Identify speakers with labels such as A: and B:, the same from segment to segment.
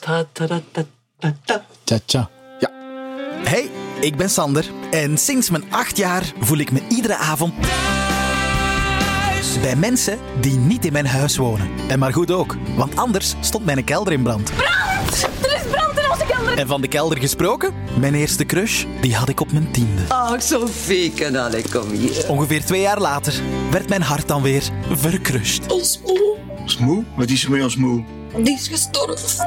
A: Ta, ta, ta, ta, ta, ta.
B: Tja, tja.
C: Hey, ik ben Sander en sinds mijn acht jaar voel ik me iedere avond thuis bij mensen die niet in mijn huis wonen. En maar goed ook, want anders stond mijn kelder in brand.
D: Er is brand in onze kelder.
C: En van de kelder gesproken, mijn eerste crush, die had ik op mijn tiende.
A: Ach, Sophie, kan alle kom hier.
C: Ongeveer twee jaar later werd mijn hart dan weer verkrust.
D: Ons moe.
E: Ons moe? Wat is er met ons moe?
D: Die is gestorven.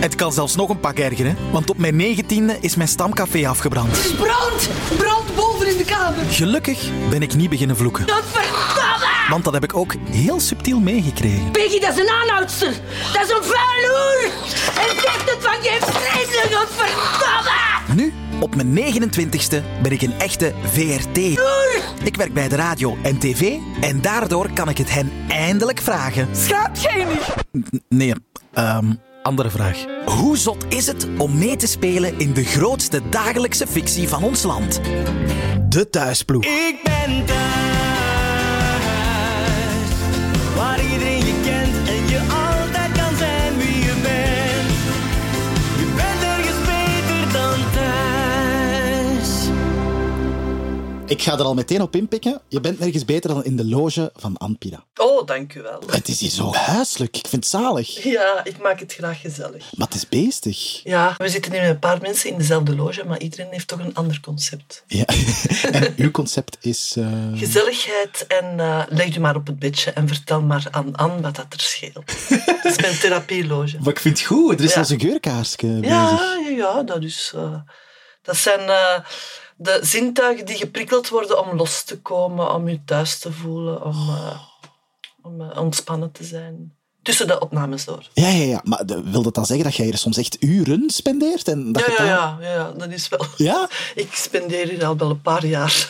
C: Het kan zelfs nog een pak ergeren, want op mijn negentiende is mijn stamcafé afgebrand.
D: Er is brand. Brand boven in de kamer.
C: Gelukkig ben ik niet beginnen vloeken,
D: Dat verdomme.
C: want dat heb ik ook heel subtiel meegekregen.
D: Peggy, dat is een aanhoudster. Dat is een vuil hoer. En zegt het van geen vreselijk. Dat verdomme.
C: Nu, op mijn 29ste, ben ik een echte VRT.
D: Hoer.
C: Ik werk bij de radio en tv en daardoor kan ik het hen eindelijk vragen.
D: Gaat geen
C: Nee, ehm, andere vraag. Hoe zot is het om mee te spelen in de grootste dagelijkse fictie van ons land? De thuisploeg.
F: Ik ben thuis, waar iedereen je kent en je altijd kan zijn wie je bent. Je bent ergens beter dan thuis.
B: Ik ga er al meteen op inpikken. Je bent nergens beter dan in de loge van Anpira.
A: Oh, dank u wel.
B: Het is hier zo huiselijk. Ik vind het zalig.
A: Ja, ik maak het graag gezellig.
B: Maar het is beestig.
A: Ja, we zitten hier met een paar mensen in dezelfde loge, maar iedereen heeft toch een ander concept.
B: Ja. en uw concept is... eh,
A: Gezelligheid en eh, leg je maar op het bedje en vertel maar aan Anne wat dat er scheelt. Het is mijn therapieloge.
B: Maar ik vind het goed. Er is
A: Ja.
B: zelfs een geurkaarsje bezig.
A: Ja, ja, ja, dat is... eh, dat zijn eh, de zintuigen die geprikkeld worden om los te komen, om je thuis te voelen, om, eh, om eh, ontspannen te zijn. Tussen de opnames door.
B: Ja, ja, ja. Maar de- wil dat dan zeggen dat jij hier soms echt uren spendeert? En dat
A: Ja,
B: je
A: ja,
B: dan-
A: ja, ja, ja, dat is wel...
B: Ja?
A: Ik spendeer hier al wel een paar jaar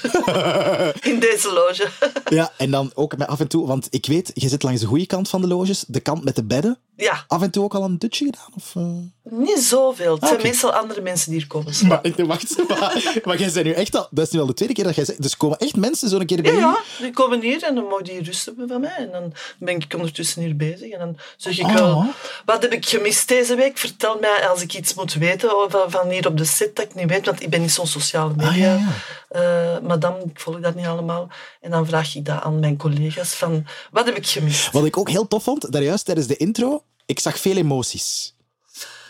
A: in deze loge.
B: Ja, en dan ook met af en toe... Want ik weet, je zit langs de goede kant van de loges. De kant met de bedden.
A: Ja,
B: Af en toe ook al een dutje gedaan? Of, eh?
A: niet zoveel. Het zijn
B: Oké.
A: meestal andere mensen die hier komen slapen.
B: Maar, ik- wacht, maar, maar jij bent nu echt al... Dat is nu al de tweede keer dat jij zegt... Dus komen echt mensen zo'n keer bij
A: Ja,
B: je?
A: ja, die komen hier en dan mogen die rust hebben van mij. En dan ben ik ondertussen hier bezig. En dan zeg ik
B: Oh.
A: wel, wat heb ik gemist deze week? Vertel mij als ik iets moet weten over- van, hier op de set dat ik niet weet. Want ik ben niet zo'n sociale media.
B: Ah, ja, ja.
A: eh, madame, ik volg dat niet allemaal. En dan vraag ik dat aan mijn collega's. Van, wat heb ik gemist?
B: Wat ik ook heel tof vond, daar juist tijdens de intro, ik zag veel emoties.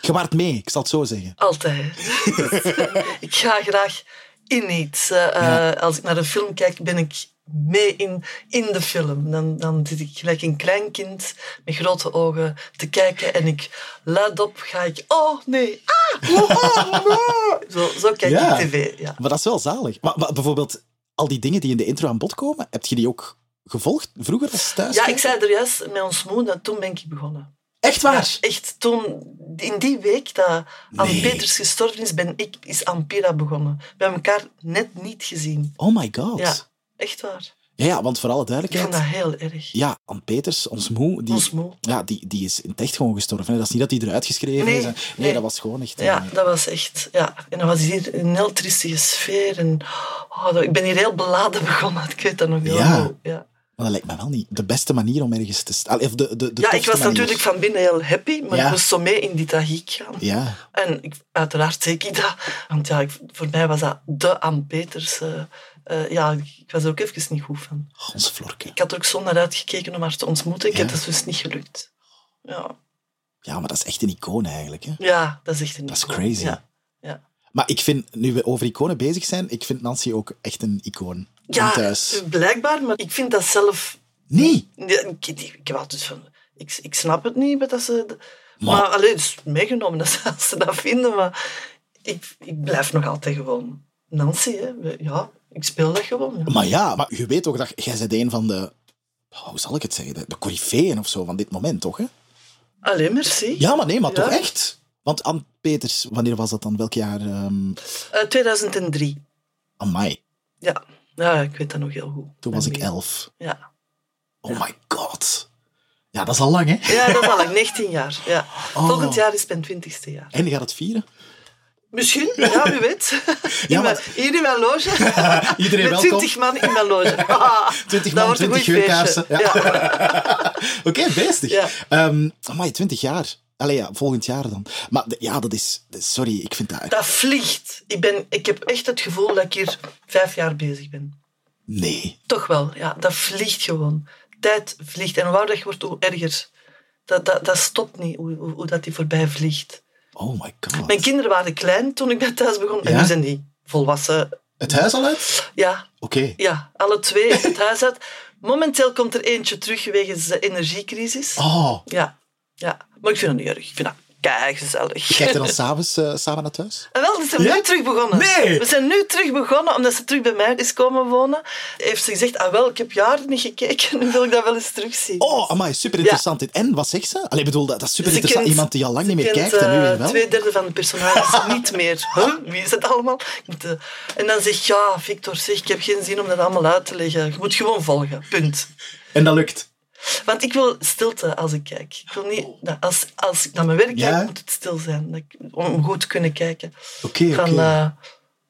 B: Je waart mee, ik zal het zo zeggen.
A: Altijd. Dus, ik ga graag in iets. Eh, eh, Als ik naar een film kijk, ben ik mee in, in de film. Dan, dan zit ik gelijk een klein kind met grote ogen te kijken en ik luid op ga ik, oh nee, ah, oh, oh, oh." Zo, zo kijk
B: Ja.
A: ik tv. Ja.
B: Maar dat is wel zalig. Maar, maar bijvoorbeeld, al die dingen die in de intro aan bod komen, heb je die ook gevolgd vroeger als thuis?
A: ja, ik zei er juist met ons moe, dat toen ben ik begonnen.
B: Echt waar?
A: Echt, toen, in die week dat Anne
B: Nee.
A: Peters gestorven is, ben ik, is Ampera begonnen. We hebben elkaar net niet gezien.
B: Oh my god.
A: Ja,
B: Ja,
A: echt waar.
B: ja, want voor alle
A: Ik vond
B: duidelijkheid...
A: dat heel erg.
B: Ja, Ann Peters, ons moe, die,
A: Ons moe.
B: Ja, die, die is in het echt gewoon gestorven. hè. Dat is niet dat die eruit geschreven
A: Nee,
B: is. hè. Nee,
A: nee.
B: dat was gewoon echt...
A: Ja,
B: eh,
A: dat was echt. Ja. En dan was hier een heel triestige sfeer. En, oh, dat- ik ben hier heel beladen begonnen, ik weet dat nog heel
B: Ja.
A: goed. Ja,
B: Maar dat lijkt me wel niet de beste manier om ergens te staan. Of de, de, de
A: ja ik
B: tofste
A: was
B: manier.
A: natuurlijk van binnen heel happy, maar
B: Ja.
A: ik moest zo mee in die tragiek gaan.
B: Ja,
A: En ik, uiteraard zeker ik dat, want ja, ik- voor mij was dat de Ann Peters. eh, eh, ja, ik ik was er ook even niet goed van.
B: ons Florke.
A: Ik had er ook zo naar uitgekeken om haar te ontmoeten. Ik
B: Ja.
A: heb dat dus niet gelukt. Ja,
B: Ja, maar dat is echt een icoon eigenlijk. Hè?
A: ja dat is echt een
B: Dat is
A: icoon.
B: crazy.
A: Ja, ja.
B: Maar ik vind, nu we over iconen bezig zijn, ik vind Nancy ook echt een icoon.
A: ja eh,
B: Van thuis.
A: blijkbaar, maar ik vind dat zelf
B: Nee!
A: Ja, ik, ik, ik had dus van... Ik, ik snap het niet, maar dat ze...
B: Maar-
A: Maar, alleen is meegenomen dat ze, als ze dat vinden, maar ik, ik blijf nog altijd gewoon Nancy, hè. We- Ja, ik speel dat gewoon. ja.
B: Maar ja, maar je weet toch dat jij bent een van de... Hoe zal ik het zeggen? De, de coryfeeën of zo van dit moment, toch? Hè?
A: Allee, merci.
B: Ja, maar nee, maar
A: Ja.
B: toch echt? Want Ann Peters, wanneer was dat dan? Welk jaar? ehm
A: Eh, 2003.
B: amai,
A: Ja. ja, ik weet dat nog heel goed.
B: toen was ik
A: Mijn
B: elf.
A: mee. Ja.
B: Oh my god. Ja, dat is al lang, hè?
A: ja, dat is al lang, 19 jaar. Ja.
B: Oh.
A: Volgend jaar is mijn 20ste jaar.
B: En je gaat het vieren?
A: Misschien, ja, wie weet.
B: Ja,
A: In mijn-
B: maar-
A: Hier in mijn loge.
B: Iedereen
A: Met
B: welkom.
A: 20 man in mijn loge. Ah, dat
B: 20 man,
A: wordt een
B: 20
A: goed feestje.
B: geurkaarsen. Ja. Oké, beestig.
A: Ja.
B: Ehm amai, 20 jaar. Ehm, Allee, ja, volgend jaar dan. Maar de- ja, dat is... Sorry, ik vind dat... echt-
A: Dat vliegt. Ik, ben, ik heb echt het gevoel dat ik hier vijf jaar bezig ben.
B: Nee.
A: Toch wel, ja. Dat vliegt gewoon. Tijd vliegt. En hoe ouder je wordt, hoe erger. Dat, dat, dat stopt niet, hoe, hoe, hoe dat die voorbij vliegt.
B: Oh my god.
A: Mijn kinderen waren klein toen ik bij thuis begon. En
B: Ja?
A: nu zijn die volwassen.
B: Het huis al uit?
A: Ja,
B: Oké.
A: ja, alle twee het huis uit. Momenteel komt er eentje terug wegens de energiecrisis.
B: Oh,
A: Ja, ja. Maar ik vind dat niet erg. Ik vind dat keigezellig.
B: je kijkt er dan s'avonds eh, samen naar thuis?
A: Ah, wel, ze zijn
B: Ja?
A: nu terug begonnen.
B: Nee!
A: We zijn nu terug begonnen, omdat ze terug bij mij is komen wonen. Heeft ze gezegd, ah wel, ik heb jaren niet gekeken, nu wil ik dat wel eens terugzien. Dus
B: Oh, amai, super interessant. En wat zegt ze? Allee, ik bedoel, dat, dat is super interessant.
A: kent-
B: Iemand die al lang niet meer
A: kent,
B: kijkt en nu
A: eh,
B: weer wel.
A: Twee derde van de personages niet meer. Huh? Wie is het allemaal? Ik moet, eh, En dan zegt, ja, Victor, zeg, ik heb geen zin om dat allemaal uit te leggen. Je moet gewoon volgen, punt.
B: En dat lukt.
A: Want ik wil stilte als ik kijk. Ik wil niet, nou, als, als ik naar mijn werk
B: Ja?
A: kijk, moet het stil zijn. dat ik- Om goed te kunnen kijken.
B: Oké, oké.
A: Van, eh,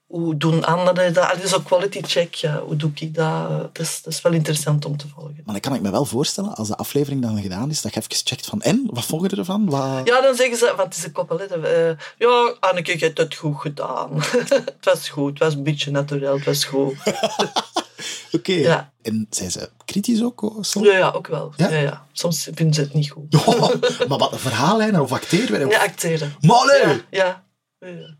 A: hoe doen anderen dat? Er is ook quality check. Ja. Hoe doe ik dat? Dat is, dat is wel interessant om te volgen.
B: Maar dan kan ik me wel voorstellen, als de aflevering dan gedaan is, dat je even checkt van, en, wat volgen je ervan? Wat...
A: Ja, dan zeggen ze, want het is een koppel. Hè, dat, eh, ja, Anneke, je hebt het goed gedaan. het was goed, het was een beetje natuurlijk, het was goed.
B: Oké.
A: Ja.
B: En zijn ze kritisch ook? oh, soms?
A: Ja, ja, ook wel.
B: Ja?
A: Ja? Ja, Soms vinden ze het niet goed.
B: Oh, maar wat, verhaallijnen of acteerwerk?
A: Ja, acteren.
B: Maar allee!
A: Ja, ja. ja.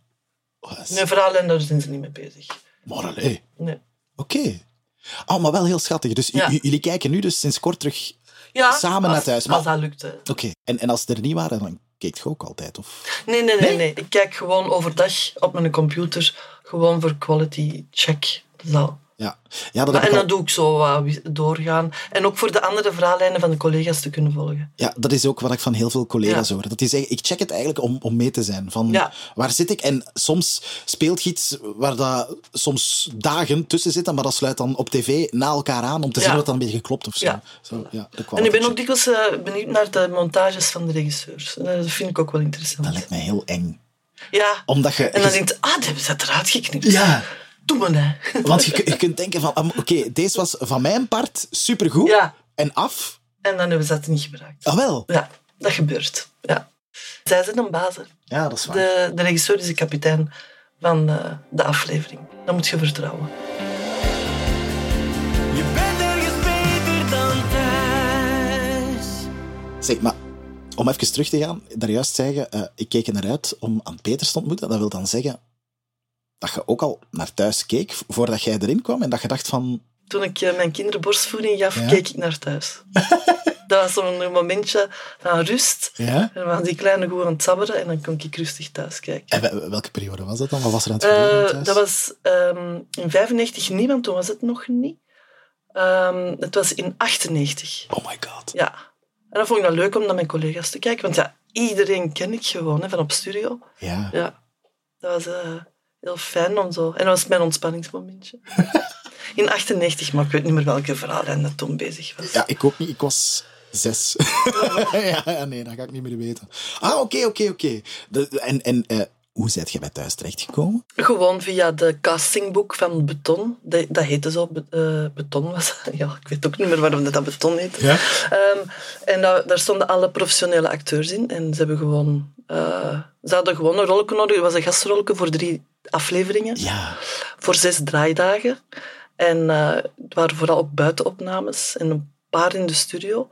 B: Oh, dat is-
A: Nee, verhalen, en daar zijn ze niet mee bezig.
B: Maar allee.
A: Nee.
B: Oké. Oh, maar wel heel schattig. Dus j-
A: Ja.
B: j- jullie kijken nu dus sinds kort terug...
A: Ja,
B: Samen
A: als,
B: naar thuis, maar-
A: Maar... Als dat lukt, hè.
B: Oké. En, en als ze er niet waren, dan keek je ook altijd? Of...
A: Nee, nee, nee, nee. Ik kijk gewoon overdag op mijn computer, gewoon voor quality check. Zo.
B: Ja. ja, dat
A: Maar,
B: heb
A: en
B: ik
A: dan
B: al-
A: doe ik zo wat wi- doorgaan. En ook voor de andere verhaallijnen van de collega's te kunnen volgen.
B: Ja, dat is ook wat ik van heel veel collega's hoor. Dat die zeggen, ik check het eigenlijk om, om mee te zijn. Van,
A: Ja.
B: Waar zit ik? En soms speelt je iets waar dat soms dagen tussen zitten, maar dat sluit dan op tv na elkaar aan om te
A: Ja.
B: zien wat dan een beetje geklopt of zo.
A: Ja.
B: Zo, ja, de
A: En
B: quality
A: ik ben
B: check.
A: ook dikwijls eh, benieuwd naar de montages van de regisseurs. En Dat vind ik ook wel
B: Dat
A: interessant.
B: lijkt mij heel eng.
A: Ja.
B: Omdat je...
A: En dan
B: je-
A: denkt ah, die hebben ze het eruit geknipt.
B: Ja,
A: Doe maar, hè.
B: want je, kun- je kunt denken van, ah, oké, deze was van mijn part supergoed
A: Ja.
B: en af.
A: En dan hebben ze dat niet gebruikt.
B: Ah, wel.
A: Ja, dat gebeurt. Ja. Zij zijn een bazen.
B: Ja, dat is waar.
A: De, de regisseur is de kapitein van eh, de aflevering. Dat moet je vertrouwen.
F: Je bent ergens beter dan thuis.
B: Zeg, maar om even terug te gaan, daarjuist zeggen, eh, ik keek er naar uit om aan Peters te ontmoeten. Dat wil dan zeggen dat je ook al naar thuis keek v- voordat jij erin kwam en dat je dacht van...
A: Toen ik eh, mijn kinderen borstvoeding gaf,
B: Ja.
A: keek ik naar thuis. dat was zo'n momentje van rust.
B: Ja?
A: En dan waren die kleine gewoon aan het sabberen en dan kon ik rustig thuis kijken.
B: En eh, wel- welke periode was dat dan? Wat was er aan het gebeuren
A: Eh,
B: thuis?
A: dat was ehm, in 95 niet, want toen was het nog niet. Ehm, het was in 98.
B: Oh my god.
A: Ja. En dan vond ik dat leuk om naar mijn collega's te kijken, want ja, iedereen ken ik gewoon hè, van op studio.
B: Ja.
A: Ja, dat was eh, heel fijn om zo. En dat was mijn ontspanningsmomentje. In 98, maar ik weet niet meer welke verhaallijn dat toen bezig was.
B: Ja, ik ook niet. Ik was zes. ja, ja, nee, dat ga ik niet meer weten. Ah, oké, oké, oké. De- En, en eh, hoe zijt jij bij thuis terechtgekomen?
A: Gewoon via de castingboek van Beton. Dat, dat heette zo, Be- eh, Beton was dat. Ja, ik weet ook niet meer waarom dat, dat Beton heet.
B: Ja.
A: en daar- daar stonden alle professionele acteurs in. En ze, hebben gewoon, eh, ze hadden gewoon een rolke nodig. Het was een gastrolke voor drie afleveringen.
B: Ja.
A: voor zes draaidagen. En eh, het waren vooral ook buitenopnames en een paar in de studio.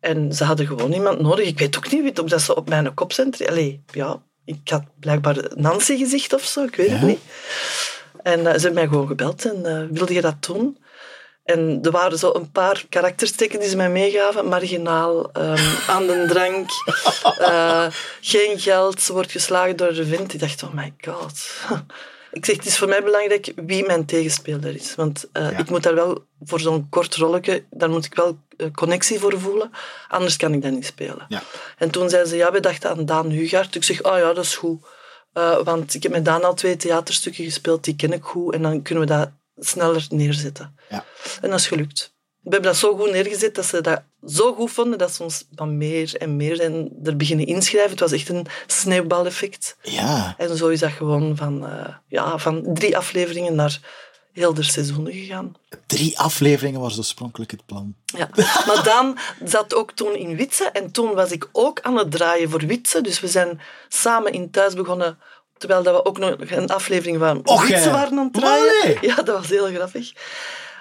A: En ze hadden gewoon iemand nodig. Ik weet ook niet wie het- of dat ze op mijn kop zijn. terecht- Allee, ja, ik had blijkbaar een Nancy-gezicht of zo, ik weet het
B: Ja.
A: niet. En eh, ze hebben mij gewoon gebeld en eh, wilde je dat doen? En er waren zo een paar karaktersteken die ze mij meegaven. Marginaal, ehm, aan de drank, eh, geen geld, ze wordt geslagen door de wind. Ik dacht, oh my god. Ik zeg, het is voor mij belangrijk wie mijn tegenspeler is. Want eh, ik moet daar wel voor zo'n kort rolletje, daar moet ik wel eh, connectie voor voelen. Anders kan ik dat niet spelen.
B: Ja.
A: En toen zei ze, ja, we dachten aan Daan Hugaert. Ik zeg, oh ja, dat is goed. Eh, want ik heb met Daan al twee theaterstukken gespeeld, die ken ik goed. En dan kunnen we dat sneller neerzetten.
B: Ja.
A: En dat is gelukt. We hebben dat zo goed neergezet dat ze dat zo goed vonden dat ze ons van meer en meer en er beginnen inschrijven. Het was echt een sneeuwbaleffect.
B: Ja.
A: En zo is dat gewoon van, eh, ja, van drie afleveringen naar heel der seizoenen gegaan.
B: Drie afleveringen was oorspronkelijk het plan.
A: Ja. Maar Daan zat ook toen in Witse en toen was ik ook aan het draaien voor Witse. Dus we zijn samen in thuis begonnen, terwijl dat we ook nog een aflevering van
B: Och,
A: Witse
B: hè.
A: waren aan het draaien.
B: Maar nee.
A: Ja, dat was heel grappig.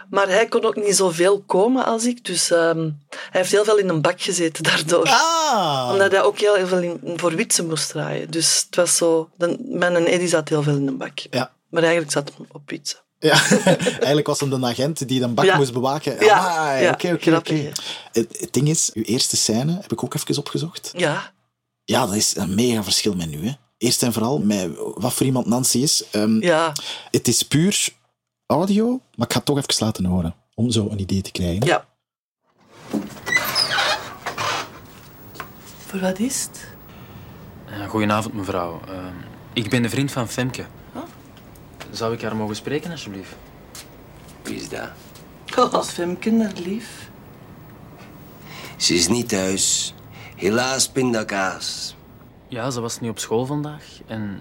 A: Maar hij kon ook niet zoveel komen als ik, dus ehm, hij heeft heel veel in een bak gezeten daardoor.
B: Ah!
A: Omdat hij ook heel, heel veel in, voor Witse moest draaien. Dus het was zo... Dan, mijn en Eddy zat heel veel in een bak.
B: Ja.
A: Maar eigenlijk zat hem op Witse.
B: Ja, eigenlijk was hem de agent die een bak
A: Ja.
B: moest bewaken.
A: Ja,
B: Ah,
A: ja,
B: oké, oké,
A: grappig,
B: oké. Het het ding is, uw eerste scène heb ik ook even opgezocht.
A: Ja.
B: Ja, dat is een mega verschil met nu. Hè. Eerst en vooral met wat voor iemand Nancy is. Ehm,
A: Ja.
B: Het is puur audio, maar ik ga het toch even laten horen. Om zo een idee te krijgen.
A: Ja. Voor wat is het?
G: Ja, Goedenavond, mevrouw. Eh, ik ben de vriend van Femke. Zou ik haar mogen spreken, alsjeblieft?
H: Wie is dat?
A: Als Femke naar lief.
H: Ze is niet thuis. Helaas pindakaas.
G: Ja, ze was niet op school vandaag. En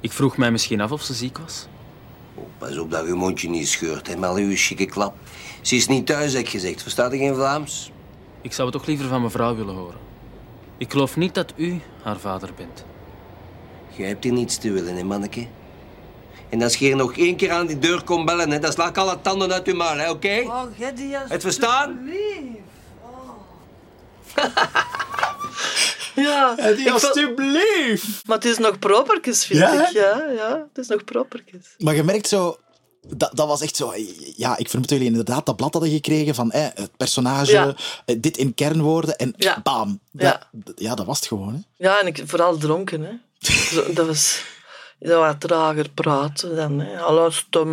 G: ik vroeg mij misschien af of ze ziek was.
H: Pas op dat je mondje niet scheurt hè, met al uw chique klap. Ze is niet thuis, heb ik gezegd. Verstaat je geen Vlaams?
G: Ik zou het toch liever van mevrouw willen horen. Ik geloof niet dat u haar vader bent.
H: Je hebt hier niets te willen, hè, manneke. En als je hier nog één keer aan die deur komt bellen, hè, dan sla ik alle tanden uit je maal, hè, oké? Het verstaan?
A: Oh. Ja. ik vond-
B: alstublieft!
A: maar het is nog properkes, vind
B: Ja,
A: ik. Ja, ja, het is nog properkes.
B: Maar je merkt zo... Dat, dat was echt zo... Ja, ik vermoed dat jullie inderdaad dat blad hadden gekregen van eh, het personage,
A: Ja.
B: eh, dit in kernwoorden en
A: Ja.
B: bam.
A: Ja.
B: Dat, ja, dat was het gewoon. Hè.
A: Ja, en ik, vooral dronken, hè. Zo, dat was... Dat was trager praten dan, hè.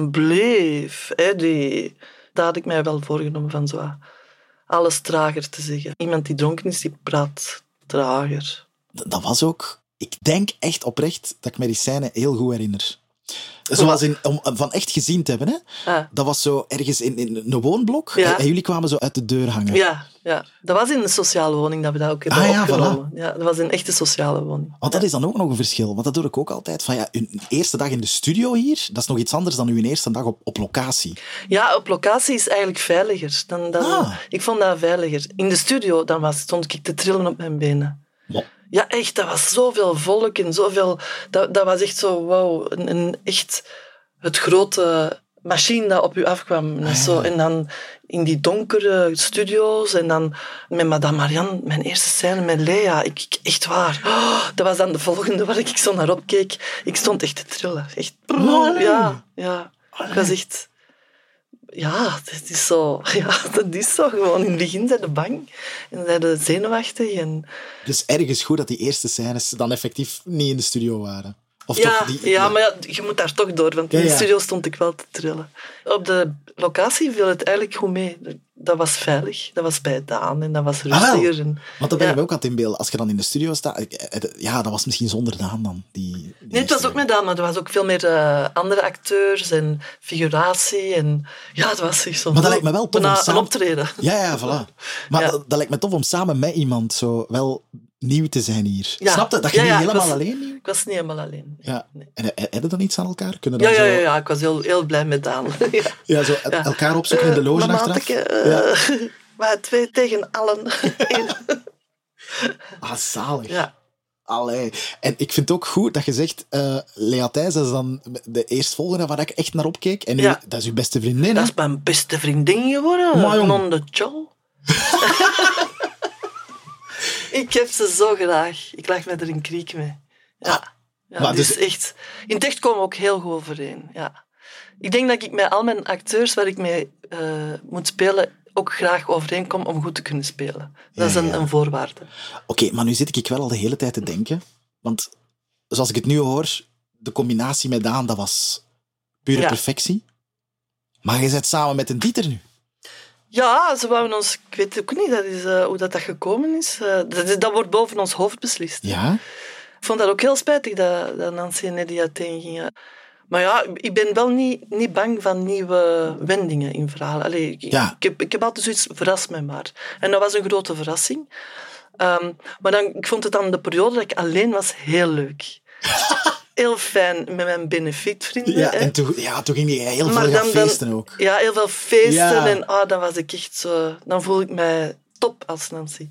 A: Alstublieft, Eddy. Daar had ik mij wel voorgenomen van zo wat alles trager te zeggen. Iemand die dronken is, die praat trager.
B: D- dat was ook... Ik denk echt oprecht dat ik me die scène heel goed herinner. Zoals in, om eh, van echt gezien te hebben, hè?
A: Ah.
B: Dat was zo ergens in, in een woonblok.
A: Ja.
B: En jullie kwamen zo uit de deur hangen.
A: Ja, ja, dat was in een sociale woning dat we dat ook hebben
B: Ah, ja,
A: opgenomen. Ja, dat was een echte sociale woning.
B: Want dat is dan ook nog een verschil. Want dat doe ik ook altijd. Van ja, een eerste dag in de studio hier, dat is nog iets anders dan uw eerste dag op, op locatie.
A: Ja, op locatie is eigenlijk veiliger. Dan, dan,
B: Ah.
A: Ik vond dat veiliger. In de studio dan was, stond ik te trillen op mijn benen.
B: Ja.
A: Ja, echt, dat was zoveel volk en zoveel... Dat, dat was echt zo, wauw, een, een echt het grote machine dat op u afkwam. En, zo. en dan in die donkere studio's en dan met Madame Marianne, mijn eerste scène met Lea. Ik, ik- echt waar. Oh, dat was dan de volgende waar ik zo naar opkeek. Ik stond echt te trillen. Echt, ja, ja. Ik was echt... Ja, dat is zo. Ja, dat is zo gewoon. In het begin zijn de bang en zijn de zenuwachtig. En
B: Dus ergens goed dat die eerste scènes dan effectief niet in de studio waren. Of
A: ja,
B: toch die,
A: ja, maar ja, je moet daar toch door, want in
B: Ja,
A: de
B: ja.
A: studio stond ik wel te trillen. Op de locatie viel het eigenlijk goed mee. Dat was veilig, dat was bij Daan en dat was
B: Ah, wel.
A: rustiger. en-
B: Want dat ben
A: Ja.
B: ik me ook aan het inbeelden. Als je dan in de studio staat... eh, eh, Ja, dat was misschien zonder Daan dan. Die, die
A: Nee, het
B: eerste
A: was ook met Daan, maar er was ook veel meer eh, andere acteurs en figuratie. En, ja, het was echt zo.
B: Maar dat lijkt me wel tof om
A: Bijna een
B: samen-
A: optreden.
B: Ja, ja, voilà. Maar
A: Ja.
B: Dat, dat lijkt me tof om samen met iemand zo wel nieuw te zijn hier.
A: Ja.
B: Snap je? Dat je
A: Ja,
B: niet
A: ja, ik
B: helemaal
A: was-
B: alleen nieuw...
A: Ik was niet helemaal alleen.
B: Ja.
A: Nee.
B: En eh, hebben dan iets aan elkaar? Kunnen
A: Ja,
B: dan
A: ja,
B: zo,
A: ja, ja, ik was heel, heel blij met Daan. ja.
B: ja, zo el-
A: Ja.
B: elkaar opzoeken in de
A: Eh,
B: loge
A: mama,
B: achteraf?
A: ik, eh, Maar twee tegen allen. eh-
B: Ah, zalig.
A: ja.
B: Allee. En ik vind het ook goed dat je zegt, eh Lea Thijs, dat is dan de eerstvolgende waar ik echt naar opkeek. En nu,
A: Ja.
B: dat is uw beste vriendin. hè?
A: Dat is mijn beste vriendin geworden.
B: Maar jong.
A: Non de Chol. ik heb ze zo graag. Ik lag met er een kriek mee. Ja. ja
B: maar
A: dus
B: dus-
A: echt. In het echt komen we ook heel goed overeen. Ja. Ik denk dat ik met al mijn acteurs waar ik mee eh, moet spelen ook graag overeenkom om goed te kunnen spelen. Dat is
B: Ja,
A: een,
B: ja.
A: een voorwaarde.
B: Oké, maar nu zit ik wel al de hele tijd te denken. Want zoals ik het nu hoor, de combinatie met Daan, dat was pure
A: Ja.
B: perfectie. Maar je zit samen met een Dieter nu.
A: Ja, ze wouden ons... Ik weet ook niet dat is, eh, hoe dat, dat gekomen is. Eh, dat, is- dat wordt boven ons hoofd beslist.
B: Ja?
A: Ik vond dat ook heel spijtig dat, dat Nancy en Eddie uiteengingen. Maar ja, ik ben wel niet, niet bang van nieuwe wendingen in verhalen. Allee, ik,
B: Ja.
A: ik, heb, ik heb altijd zoiets, verrast mij maar. En dat was een grote verrassing. Ehm, maar dan, ik vond het dan de periode dat ik alleen was heel leuk. heel fijn met mijn benefitvrienden.
B: Ja,
A: hè.
B: en toen, ja, toen ging hij heel
A: Maar
B: veel gaan
A: dan- dan-
B: feesten ook.
A: Ja, heel veel feesten.
B: Ja.
A: En ah, dan was ik echt zo... Dan voel ik mij top als Nancy.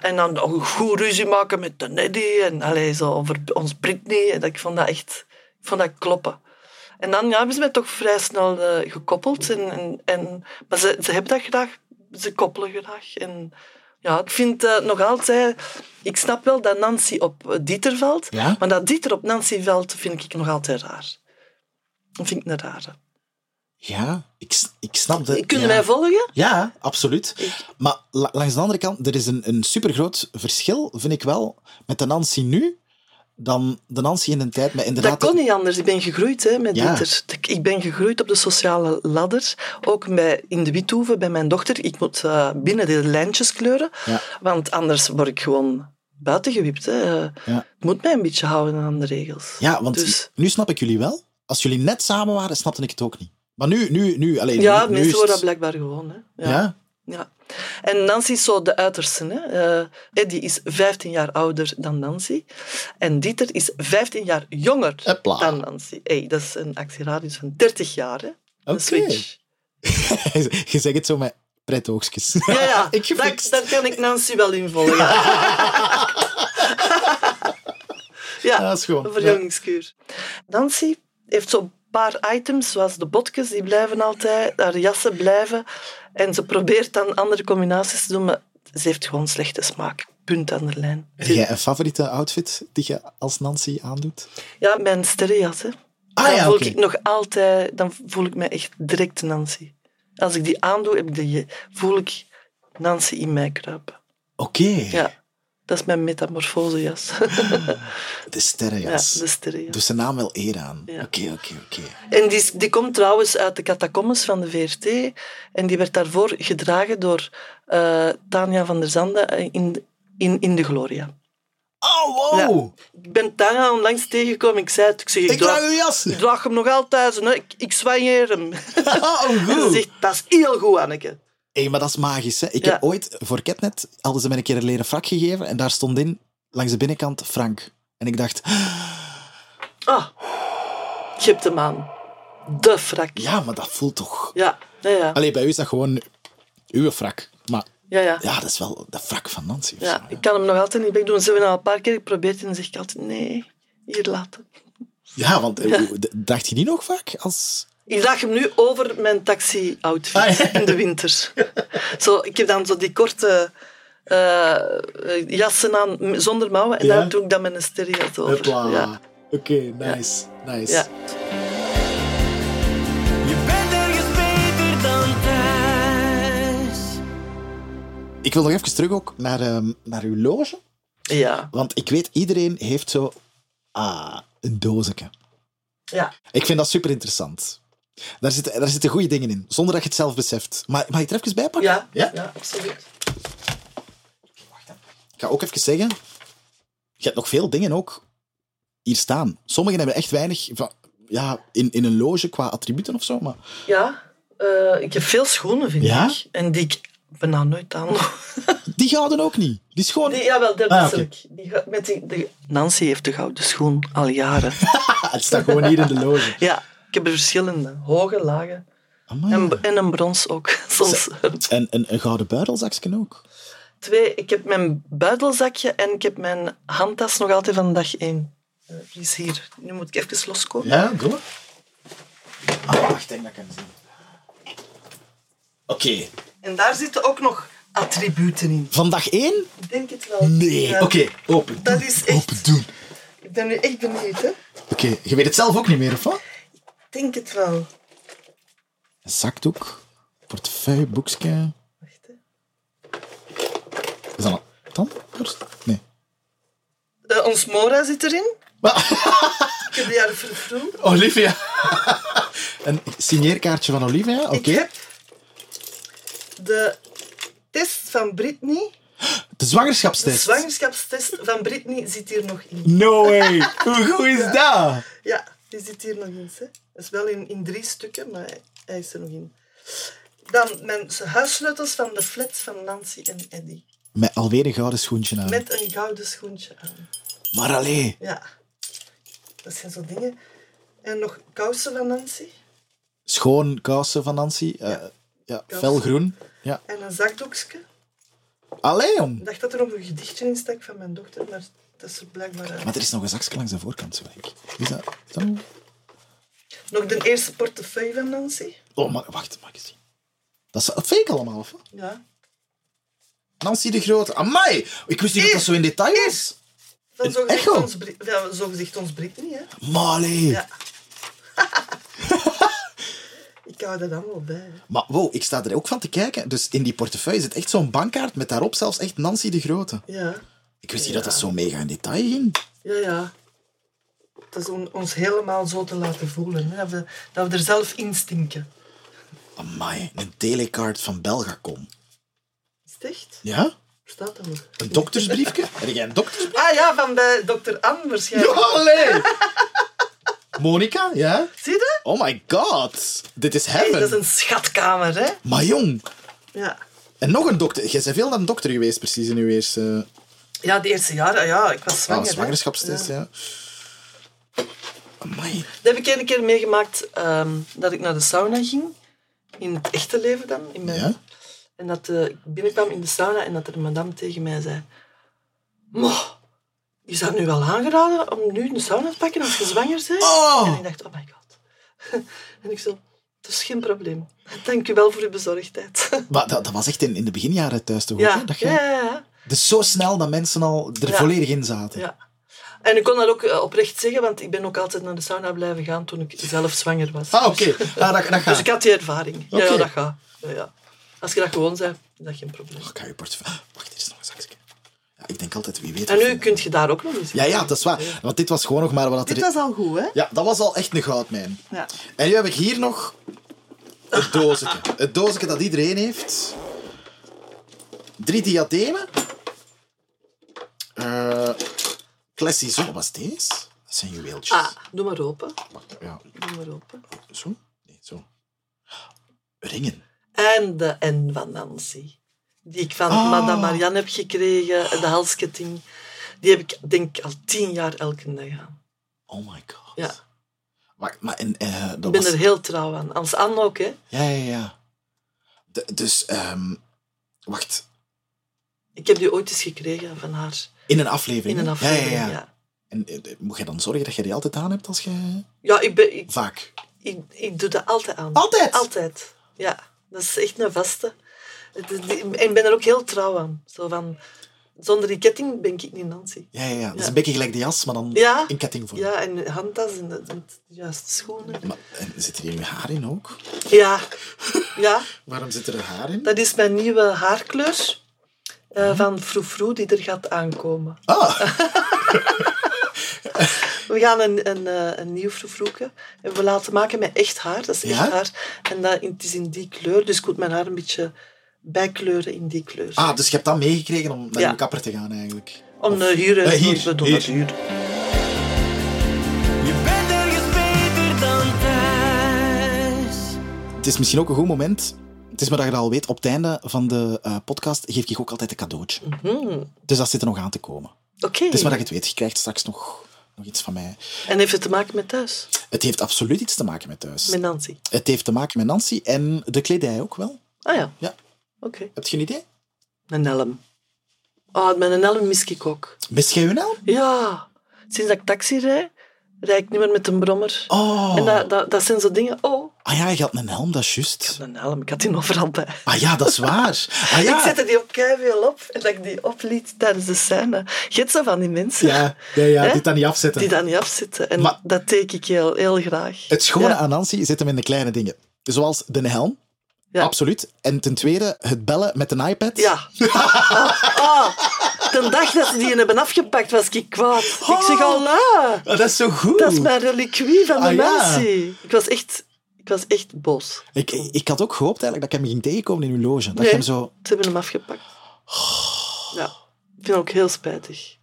A: En dan ook goed ruzie maken met de Neddy. En allee, zo over ons Britney. En dat, ik vond dat echt... Ik vond dat kloppen. En dan ja, hebben ze mij toch vrij snel eh, gekoppeld. En, en, en, maar ze, ze hebben dat graag. Ze koppelen graag. En ja, ik vind eh, nog altijd... Ik snap wel dat Nancy op eh, Dieter valt.
B: Ja?
A: Maar dat Dieter op Nancy valt, vind ik nog altijd raar. Dat vind ik een rare.
B: Ja, ik, s- ik snap dat.
A: Kunnen
B: ja.
A: wij volgen?
B: Ja, absoluut. Maar la- langs de andere kant, er is een, een supergroot verschil, vind ik wel, met de Nancy nu, dan de Nancy in een tijd met inderdaad...
A: Dat kon niet anders. Ik ben gegroeid hè, met
B: Ja.
A: Dieter. Ik- Ik ben gegroeid op de sociale ladder. Ook bij, in de Withoeve, bij mijn dochter. Ik moet eh, binnen de lijntjes kleuren.
B: Ja.
A: Want anders word ik gewoon buitengewipt. Hè. Eh,
B: Ja.
A: Ik moet mij een beetje houden aan de regels.
B: Ja, want
A: Dus-
B: nu snap ik jullie wel. Als jullie net samen waren, snapte ik het ook niet. Maar nu, nu, nu, alleen.
A: Ja,
B: nu, nu is
A: mensen worden dat
B: het-
A: blijkbaar gewoon. Hè.
B: Ja.
A: Ja. En Nancy is zo de uiterste. Hè. Eh, Eddie is 15 jaar ouder dan Nancy. En Dieter is 15 jaar jonger
B: Hopla.
A: dan Nancy. Hey, dat is een actieradius van 30 jaar. Hè. Een
B: Oké.
A: switch.
B: Je zegt het zo met pret oogstjes.
A: Ja, ja.
B: ik
A: daar,
B: gefixt.
A: daar kan ik Nancy wel in volgen. Ja,
B: Ja, dat is gewoon,
A: Een verjongingskuur. Nancy heeft zo'n paar items, zoals de botjes, die blijven altijd, haar jassen blijven. En ze probeert dan andere combinaties te doen, maar ze heeft gewoon slechte smaak. Punt aan de lijn.
B: Heb jij een favoriete outfit die je als Nancy aandoet?
A: Ja, mijn sterrenjas, hè.
B: Ah,
A: dan
B: ja,
A: voel
B: oké.
A: ik nog altijd, dan voel ik me echt direct Nancy. Als ik die aandoe, heb ik die, voel ik Nancy in mij kruipen.
B: Oké,
A: Ja, dat is mijn metamorfosejas.
B: de
A: ja, de
B: sterrenjas.
A: sterrenjas.
B: Doe zijn naam wel eer aan.
A: Ja.
B: Oké, oké, oké.
A: En die, is- die komt trouwens uit de catacombes van de VRT. En die werd daarvoor gedragen door eh, Tanja van der Zande in, in, in de Gloria.
B: Oh, wow!
A: Ik ben Tanja onlangs tegengekomen. Ik zei het. Ik zeg, ik,
B: Ik draag
A: draag,
B: uw jas!
A: ik draag hem nog altijd. Hè. Ik, ik soigneer hem.
B: Oh,
A: En ze
B: goed!
A: zegt, dat is heel goed, Anneke.
B: Hé, maar dat is magisch. Hè? Ik
A: Ja.
B: heb ooit voor Ketnet hadden ze mij een keer een leren vak gegeven en daar stond in langs de binnenkant Frank. En ik dacht,
A: Ah, je hebt hem aan. De frak.
B: ja, maar dat voelt toch.
A: Ja, ja, ja.
B: Allee, bij u is dat gewoon uw frak. Maar
A: ja, ja.
B: ja, dat is wel de frak van Nancy. of zo,
A: Ja,
B: hè.
A: ik kan hem nog altijd niet wegdoen. Ze hebben al een paar keer geprobeerd en dan zeg ik altijd, nee, hier laten.
B: ja want eh, hoe- d- dacht je die nog vaak? Als...
A: Ik draag hem nu over mijn taxi-outfit
B: Ah, ja.
A: in de winter. Zo, ik heb dan zo die korte eh, eh, jassen aan m- zonder mouwen en
B: Ja.
A: daar doe ik dan mijn stereo over.
B: Hopla.
A: Ja.
B: Oké, nice. nice.
A: Ja.
F: Je bent ergens beter dan thuis.
B: Ik wil nog even terug ook naar, ehm, naar uw loge.
A: Ja.
B: Want ik weet, iedereen heeft zo ah, een dozeke.
A: Ja.
B: Ik vind dat super interessant. Daar zitten, daar zitten goede dingen in, zonder dat je het zelf beseft. Maar mag ik er even bij pakken?
A: Ja. ja, absoluut.
B: Ik ga ook even zeggen, je hebt nog veel dingen ook hier staan. Sommigen hebben echt weinig van, ja, in, in een loge qua attributen of zo. Maar
A: Ja, eh, ik heb veel schoenen, vind
B: Ja?
A: ik. En die ik bijna nooit aan.
B: die gouden ook niet. Die is gewoon...
A: Die, jawel, dat
B: Ah,
A: ah,
B: oké.
A: die, ga- met die, die- Nancy heeft de gouden schoen al jaren.
B: Ah, het staat gewoon hier in de loge.
A: ja, ik heb er verschillende. Hoge, lage.
B: Amai.
A: En, en een brons ook, soms.
B: En een, een gouden buidelzakje ook.
A: Twee, ik heb mijn buidelzakje en ik heb mijn handtas nog altijd van dag één. Eh, Die is hier. Nu moet ik even loskomen.
B: Ja, doe Ah, wacht, ik denk dat ik hem zie. Oké.
A: En daar zitten ook nog attributen in.
B: Vandaag één?
A: Ik denk het wel.
B: Nee.
A: Ja.
B: Oké, open.
A: Dat
B: Doen,
A: is echt-
B: Open doen.
A: Ik ben nu echt benieuwd, hè.
B: Oké, je weet het zelf ook niet meer, of wat?
A: Ik denk het wel.
B: Een zakdoek, portefeuille, boekje.
A: Wacht, hè.
B: Is dat een tandborst? Nee.
A: Eh, ons Mora zit erin.
B: Wa-
A: Ik heb die haar vervroegd.
B: Olivia. een signeerkaartje van Olivia, oké.
A: Ik heb de test van Britney.
B: De
A: De
B: zwangerschapstest.
A: zwangerschapstest van Britney zit hier nog in.
B: No way. Hoe goed is dat?
A: Ja, die zit hier nog in. Hè. Dat is wel in, in drie stukken, maar hij, hij is er nog in. Dan mijn huissleutels van de flat van Nancy en Eddie.
B: Met alweer een gouden schoentje aan.
A: Met een gouden schoentje aan.
B: Maar allee.
A: Ja. Dat zijn zo dingen. En nog kousen van Nancy.
B: Schoon kousen van Nancy. eh, ja. felgroen. Ja.
A: En een zakdoekje.
B: Allee, jong.
A: Ik dacht dat er nog een gedichtje in stak van mijn dochter, maar dat is er blijkbaar uit.
B: Maar er is nog een zakje langs de voorkant, zo denk ik. Is dat zo?
A: Nog de eerste portefeuille van Nancy.
B: Oh, maar wacht, mag ik zien. Dat is fake allemaal, of wat?
A: Ja.
B: Nancy de Grote. Amai! Ik wist niet dat dat zo in detail is.
A: Van
B: Een
A: zogezegd
B: echo?
A: ons, Bri- ja, zogezegd ons Britney, hè.
B: Maar allee.
A: Ja. Ik hou dat allemaal bij. hè.
B: Maar wow, ik sta er ook van te kijken. Dus in die portefeuille zit echt zo'n bankkaart met daarop zelfs echt Nancy de Grote.
A: Ja.
B: Ik wist niet dat dat zo mega in detail ging.
A: Ja, ja. Het is om ons helemaal zo te laten voelen. Hè? Dat, we, dat we er zelf in stinken.
B: Amai, een telekaart van Belgacom.
A: Is het echt?
B: Ja?
A: Staat dat er?
B: Een doktersbriefje? Heb jij een doktersbriefje?
A: Ah ja, van bij dokter Anne
B: Ja,
A: waarschijnlijk.
B: allee! Monica, ja?
A: Zie je dat?
B: Oh my god, dit is
A: Hey,
B: heaven.
A: dat is een schatkamer, hè?
B: Maar jong,
A: Ja.
B: en nog een dokter. Jij bent veel naar een dokter geweest precies in uw eerste
A: Ja, de eerste jaren, ja, ik was
B: ah,
A: zwanger. hè.
B: zwangerschapstest. Ja. Amai.
A: Dat heb ik een keer meegemaakt ehm, dat ik naar de sauna ging. In het echte leven dan. In mijn...
B: Ja?
A: En dat eh, ik binnenkwam in de sauna en dat er een madame tegen mij zei... Mo, is dat nu wel aangeraden om nu een sauna te pakken als je zwanger bent?
B: Oh!
A: En ik dacht, oh my god. en ik zo, dat is geen probleem. Dank u wel voor uw bezorgdheid.
B: Maar dat, dat was echt in, in de beginjaren thuis te horen.
A: ja.
B: hè, Dat jij...
A: ja, ja, ja.
B: Dus zo snel dat mensen al er
A: Ja.
B: volledig in zaten.
A: Ja. En ik kon dat ook eh, oprecht zeggen, want ik ben ook altijd naar de sauna blijven gaan toen ik zelf zwanger was.
B: Ah,
A: Dus-
B: oké. Ah, dat, dat gaat.
A: Dus ik had die ervaring. Ja,
B: Oké.
A: Ja, dat gaat. Ja, ja. Als je dat gewoon zei, is dat geen probleem.
B: Oh, ik ga je portefeuille... Wacht, hier is nog een zakje. Ja, ik denk altijd, wie weet...
A: En
B: wat
A: nu
B: vinden.
A: kun je daar ook nog eens.
B: Ja, ja, dat is waar. Want dit was gewoon nog maar wat
A: Dit
B: er...
A: was al goed, hè?
B: Ja, dat was al echt een goudmijn.
A: Ja.
B: En nu heb ik hier nog het doosje. Het doosje dat iedereen heeft. Drie diademen. Eh Classy zo. Wat is deze? Dat zijn juweeltjes.
A: Ah, doe maar open.
B: Ja,
A: Doe maar open.
B: zo? Nee, zo. Ringen.
A: En de N van Nancy. Die ik van
B: Oh.
A: Madame Marianne heb gekregen, de halsketting. Die heb ik denk ik al tien jaar elke dag aan.
B: Oh my god.
A: Ja.
B: Maar, maar en, eh, dat
A: Ik ben
B: was...
A: er heel trouw aan. Als Anne ook, hè.
B: Ja, ja, ja. De- dus, ehm, wacht.
A: Ik heb die ooit eens gekregen van haar.
B: In een aflevering.
A: In een
B: hè?
A: aflevering,
B: Ja, ja, ja.
A: ja.
B: En eh, moet je dan zorgen dat je die altijd aan hebt als je...
A: Ja, ik, ben, ik,
B: Vaak.
A: ik, ik doe dat altijd aan.
B: Altijd?
A: Altijd, ja. Dat is echt een vaste. Het is die- En ik ben er ook heel trouw aan. Zo van, zonder die ketting ben ik niet Nancy.
B: Ja, ja, ja. Dat is
A: Ja.
B: een beetje gelijk de jas, maar dan
A: Ja.
B: in kettingvorm.
A: Ja, en handtas en de, en de juiste schoenen.
B: Maar, en zit er hier nu haar in ook?
A: Ja. ja,
B: Waarom zit er haar in?
A: dat is mijn nieuwe haarkleur eh, van Froe Froe die er gaat aankomen.
B: Mhm. Ah,
A: We gaan een, een, eh, een nieuw vroegvroeken. En we laten maken met echt haar. Dat is echt
B: Ja?
A: haar. En dat, het is in die kleur. Dus ik moet mijn haar een beetje bijkleuren in die kleur.
B: ah, dus je hebt dat meegekregen om naar
A: Ja.
B: de kapper te gaan eigenlijk.
A: Om eh, hier... eh,
B: Eh, hier,
A: we doen
B: hier.
A: dat hier.
F: Je bent ergens beter dan thuis.
B: Het is misschien ook een goed moment. Het is maar dat je dat al weet. Op het einde van de eh, podcast geef ik ook altijd een cadeautje.
A: Mhm.
B: Dus dat zit er nog aan te komen.
A: Oké.
B: Het is maar dat je het weet. Je krijgt straks nog, nog iets van mij.
A: En heeft het te maken met thuis?
B: Het heeft absoluut iets te maken met thuis.
A: Met Nancy?
B: Het heeft te maken met Nancy en de kledij ook wel.
A: Ah ja.
B: Ja.
A: Oké.
B: Heb je een idee?
A: Een helm. Ah, met een helm mis ik ook.
B: Mist jij hun helm?
A: Ja. Sinds dat ik taxi rijd, rijd ik niet meer met een brommer.
B: Oh.
A: En dat, dat, dat zijn zo dingen... Oh,
B: Ah ja, je had een helm, dat is juist.
A: een helm. Ik had die overal bij.
B: Ah ja, dat is waar. Ah ja.
A: Ik zette die ook keiveel op en dat ik die opliet tijdens de scène. Geet zo van die mensen
B: Ja, ja, ja
A: Hè?
B: dit dan niet afzetten.
A: die dat niet afzitten. En
B: Maar-
A: dat teken ik heel, heel graag.
B: Het schone
A: Ja.
B: aan Nancy zit hem in de kleine dingen. Zoals de helm.
A: Ja.
B: Absoluut. En ten tweede, het bellen met een iPad.
A: Ja. Ah, ah. De dag dat ze die hebben afgepakt, was ik kwaad. Ik zeg, Allah,
B: Ah, dat is zo goed.
A: dat is mijn reliquie van de
B: Ah, ja.
A: natie. Ik, was echt, ik was echt boos.
B: ik, ik had ook gehoopt eigenlijk dat ik hem ging tegenkomen in uw loge. Dat
A: Nee.
B: je hem zo...
A: Ze hebben hem afgepakt. Ja, ik vind het ook heel spijtig.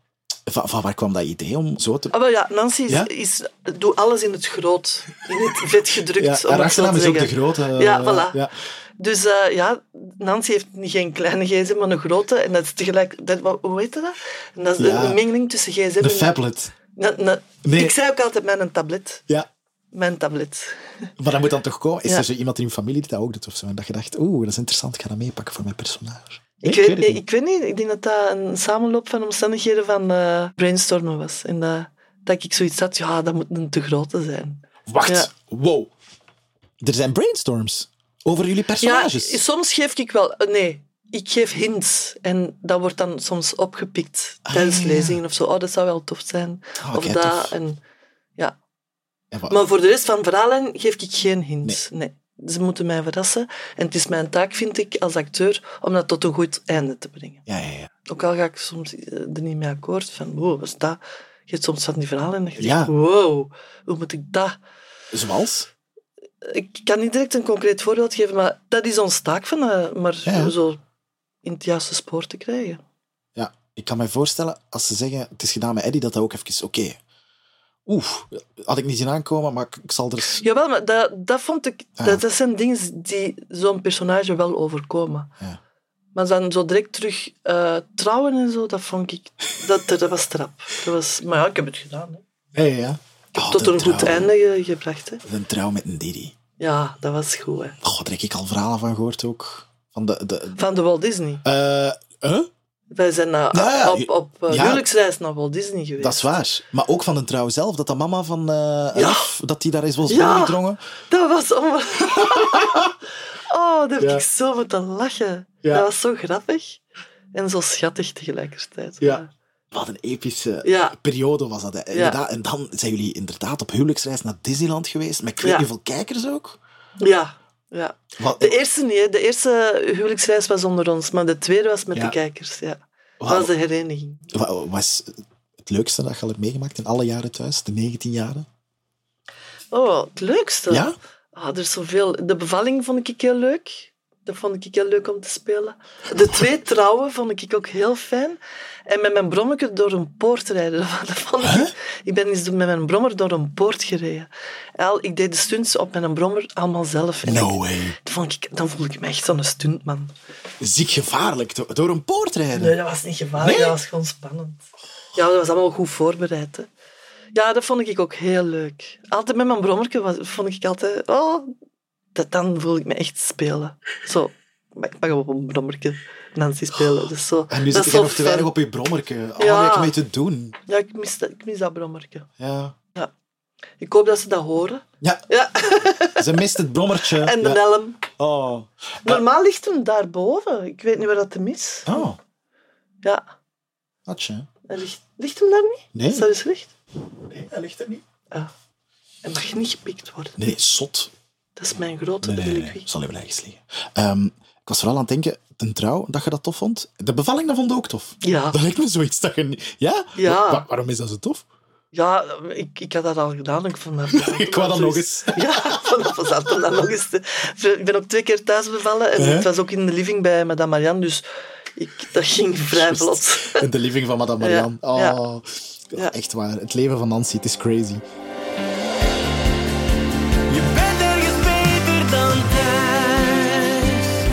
B: Van, van waar kwam dat idee om zo te...
A: Ah, wel ja, Nancy is,
B: Ja?
A: is, doet alles in het groot. In het vet gedrukt,
B: Ja,
A: om
B: haar
A: het zo
B: achternaam
A: te
B: is ook de
A: zeggen.
B: grote. eh,
A: Ja, voilà.
B: Ja.
A: Dus eh, ja, Nancy heeft niet geen kleine gsm, maar een grote. En dat is tegelijk... Dat, wat- hoe heet dat? En dat is
B: Ja.
A: een mengeling tussen gsm en...
B: De phablet.
A: Nee, nee.
B: Nee.
A: Ik zei ook altijd mijn tablet.
B: Ja,
A: Mijn tablet.
B: maar dat moet dan toch komen. Is
A: Ja.
B: er zo iemand in uw familie die dat ook doet of zo? En dat je dacht, oeh, dat is interessant, ik ga dat meepakken voor mijn personage. Nee,
A: Ik, weet,
B: het
A: ik,
B: niet.
A: weet niet, ik denk dat dat een samenloop van omstandigheden van eh, brainstormen was. En dat, dat ik zoiets had, ja, dat moet een te grote zijn.
B: Wacht,
A: Ja.
B: wow. Er zijn brainstorms over jullie personages.
A: Ja, soms geef ik wel... eh, Nee, ik geef hints. En dat wordt dan soms opgepikt tijdens
B: Ah, ja, ja.
A: lezingen of zo. Oh, dat zou wel tof zijn.
B: Ah,
A: of
B: oké,
A: dat.
B: tof.
A: En, ja.
B: Ja, wa-
A: Maar voor de rest van verhalen geef ik geen hints. Nee. Ze moeten mij verrassen. En het is mijn taak, vind ik, als acteur, om dat tot een goed einde te brengen.
B: ja, ja, ja.
A: Ook al ga ik soms eh, er niet mee akkoord van, wow, wat is dat? Je hebt soms van die verhalen en je
B: Ja.
A: denkt, wow, hoe moet ik dat...
B: Zoals?
A: Ik kan niet direct een concreet voorbeeld geven, maar dat is ons taak, van, eh, maar
B: Ja.
A: zo in het juiste spoor te krijgen.
B: Ja, ik kan me voorstellen, als ze zeggen, het is gedaan met Eddie, dat dat ook even, oké. Oef, had ik niet zien aankomen, maar ik, ik zal er... eens-
A: Jawel, maar dat, dat vond ik...
B: Ja.
A: Dat, dat zijn dingen die zo'n personage wel overkomen.
B: Ja.
A: Maar dan zo direct terug eh, trouwen en zo, dat vond ik... Dat, dat was trap. Dat was, maar ja, ik heb het gedaan. Hè.
B: Ja, ja, ja. Oh,
A: Tot
B: de
A: een goed
B: trouw.
A: einde ge- gebracht. Hè.
B: Een trouw met een Didi.
A: Ja, dat was goed. Hè.
B: God, daar heb ik al verhalen van gehoord ook. Van de... de
A: Van de Walt Disney.
B: eh, huh?
A: Wij zijn eh,
B: Ja, ja,
A: op, op eh,
B: ja.
A: huwelijksreis naar Walt Disney geweest.
B: Dat is waar. Maar ook van een trouw zelf, dat de mama van eh Raf, dat die daar is was
A: Ja.
B: doorgedrongen.
A: Dat was om... oh, daar heb
B: Ja.
A: ik zo moeten lachen.
B: Ja.
A: Dat was zo grappig. En zo schattig tegelijkertijd.
B: Ja. Wat een epische
A: Ja.
B: periode was dat. hè. Inderdaad. En dan zijn jullie inderdaad op huwelijksreis naar Disneyland geweest, met ik weet
A: Ja.
B: niet hoeveel kijkers ook.
A: Ja. ja.
B: Wat,
A: De e- eerste niet, hè. de eerste huwelijksreis was onder ons, maar de tweede was met
B: Ja.
A: de kijkers. Ja. Dat
B: Wauw.
A: was de hereniging.
B: Wa- Wat is het leukste dat je al hebt meegemaakt in alle jaren thuis, de 19 jaren?
A: Oh, het leukste.
B: Ja?
A: Ah, er is zoveel. De bevalling vond ik heel leuk. Dat vond ik heel leuk om te spelen. De twee trouwen vond ik ook heel fijn. En met mijn brommerke door een poort rijden. Dat vond ik... ik ben eens met mijn brommer door een poort gereden. Al, ik deed de stunts op mijn brommer allemaal zelf. En
B: No
A: ik-
B: way.
A: dat vond ik, dan voelde ik me echt zo'n stuntman.
B: Ziek gevaarlijk, do- door een poort rijden.
A: Nee, dat was niet gevaarlijk,
B: Nee?
A: dat was gewoon spannend. Ja, dat was allemaal goed voorbereid. Hè. Ja, dat vond ik ook heel leuk. Altijd met mijn brommerke was, vond ik altijd... Oh, dat, dan voel ik me echt spelen. Zo, maar ik mag op een brommerke Nancy spelen. Dus zo,
B: En nu
A: dat
B: zit
A: is
B: je
A: zo
B: nog te
A: fijn.
B: weinig op je brommerke.
A: Ja.
B: Oh, ja. mee te doen.
A: Ja, ik mis, dat, ik mis dat brommerke.
B: Ja.
A: Ik hoop dat ze dat horen.
B: Ja,
A: Ja,
B: ze mist het brommertje.
A: en de
B: Ja.
A: helm.
B: Oh.
A: Normaal ligt hem daarboven. Ik weet niet waar dat hem is.
B: Oh,
A: Ja,
B: atje.
A: hij ligt, ligt hem daar niet?
B: Nee.
A: Is dat eens licht?
B: Nee, hij ligt er niet.
A: Hij mag niet gepikt worden.
B: Nee, zot.
A: Dat is mijn grote
B: Nee, nee, nee, nee.
A: reliquie.
B: Zal even ergens liggen. Ehm, ik was vooral aan het denken, ten trouw, dat je dat tof vond. De bevalling, dat vond ik ook tof.
A: Ja.
B: Dat lijkt me zoiets dat je niet... Ja?
A: Ja.
B: Wa- waarom is dat zo tof?
A: Ja, ik, ik had dat al gedaan. Ik vond dat plezant.
B: Ik wou dat nog eens.
A: Ja, ik vond dat plezant om dat nog eens te- Ik ben ook twee keer thuis bevallen. En
B: Hè?
A: het was ook in de living bij madame Marianne. Dus ik, dat ging vrij vlot.
B: In de living van Madame Marianne.
A: Ja, ja.
B: Oh,
A: Ja.
B: Echt waar. Het leven van Nancy, het is crazy.
F: Je bent ergens beter dan thuis.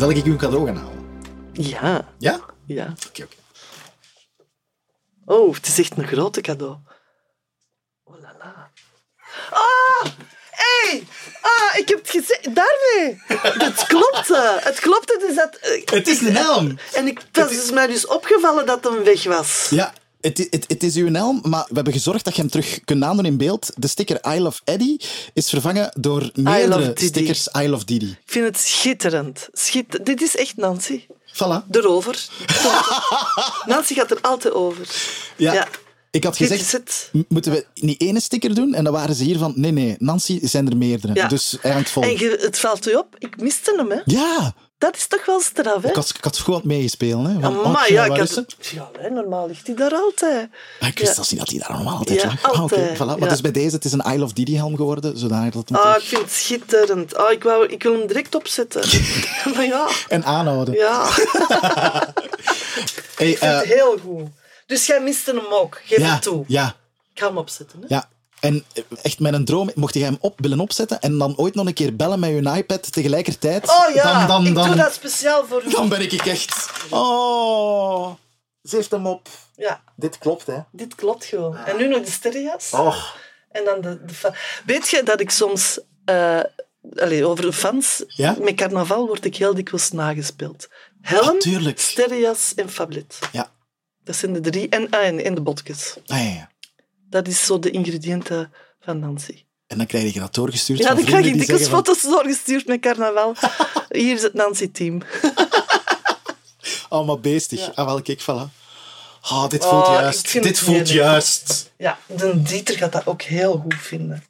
B: Zal ik u een cadeau gaan halen?
A: Ja,
B: Ja? Oké,
A: ja.
B: oké.
A: Oh, het is echt een grote cadeau. Oh la la. Ah! Hey! Ah, ik heb het gezegd. Daarmee! Dat klopte. Het klopte dus dat...
B: Het is een helm.
A: En ik, het is mij dus opgevallen dat hem weg was.
B: Ja, het, i- het, het is uw helm, maar we hebben gezorgd dat je hem terug kunt aandoen in beeld. De sticker I Love Eddie is vervangen door
A: Love
B: meerdere
A: Didi.
B: stickers I Love Didi.
A: Ik vind het schitterend. Schitter- Dit is echt Nancy.
B: Voilà.
A: De rover. Nancy gaat er altijd over.
B: Ja. Ik had
A: Dit
B: gezegd,
A: is het.
B: m- moeten we niet ene sticker doen? En dan waren ze hier van, nee, nee, Nancy, zijn er meerdere.
A: Ja.
B: Dus hij hangt vol.
A: En je- het valt u op, ik miste hem. Hè.
B: Ja,
A: Dat is toch wel straf, hè?
B: ik had, ik had goed aan het meegespelen. Hè, van,
A: Amai,
B: oh,
A: ja,
B: waar
A: ik
B: is ze?
A: had... ja, hè, normaal ligt hij daar altijd.
B: Ah, ik wist
A: Ja.
B: zelfs niet dat hij daar normaal altijd
A: Ja,
B: lag. Ah, oké,
A: altijd,
B: voilà. Maar
A: ja.
B: dus bij deze, het is een I Love Didi helm geworden, zodanig dat het
A: Ah, ik
B: terug-
A: vind het schitterend. Ah, ik, wou, ik wil hem direct opzetten. maar ja,
B: En aanhouden.
A: ja,
B: Hey, eh,
A: heel goed. Dus jij miste hem ook, geef
B: ja,
A: het toe.
B: ja,
A: Ik ga hem opzetten. Hè.
B: ja. En eh, echt met een droom, mocht jij hem op willen opzetten en dan ooit nog een keer bellen met je iPad tegelijkertijd,
A: Oh ja,
B: dan, dan,
A: ik
B: dan,
A: doe dat speciaal voor u.
B: dan ben ik echt... Oh... Ze heeft hem op.
A: Ja,
B: Dit klopt, hè.
A: dit klopt gewoon. En nu nog de sterrenjas.
B: Och,
A: En dan de, de fa- Weet je dat ik soms... eh, allee, over de fans.
B: Ja?
A: Met carnaval word ik heel dikwijls nagespeeld. Helm,
B: Ah, tuurlijk.
A: sterrenjas en fablet.
B: ja.
A: Dat zijn de drie. En, ah, en, en de botjes.
B: Ah, ja, ja.
A: Dat is zo de ingrediënten van Nancy.
B: En dan krijg je dat doorgestuurd
A: Ja,
B: van
A: dan
B: vrienden
A: krijg ik
B: die
A: dikwijls
B: zeggen van,
A: foto's doorgestuurd met carnaval. Hier is het Nancy-team.
B: Allemaal beestig. Ah, wel, kijk, voilà. Ah, dit
A: Oh,
B: voelt
A: ik
B: juist.
A: vind
B: Dit
A: het
B: voelt
A: heerlijk.
B: juist.
A: Ja, de Dieter gaat dat ook heel goed vinden.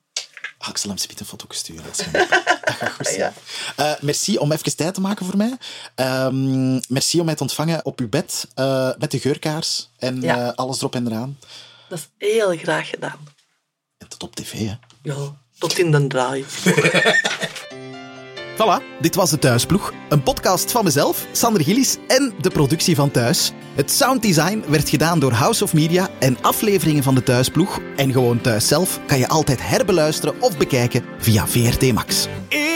B: Ah, ik zal hem zometeen een foto sturen. Dat, is geen probleem. dat gaat goed zijn. Eh, merci om even tijd te maken voor mij. Ehm, merci om mij te ontvangen op uw bed eh, met de geurkaars en
A: Ja.
B: eh, alles erop en eraan.
A: Dat is heel graag gedaan.
B: En tot op tv, hè.
A: Ja, tot in den draai.
C: Voilà, dit was de Thuisploeg. Een podcast van mezelf, Sander Gillis en de productie van Thuis. Het sounddesign werd gedaan door House of Media en afleveringen van de Thuisploeg en gewoon Thuis zelf kan je altijd herbeluisteren of bekijken via VRT Max.
F: Ik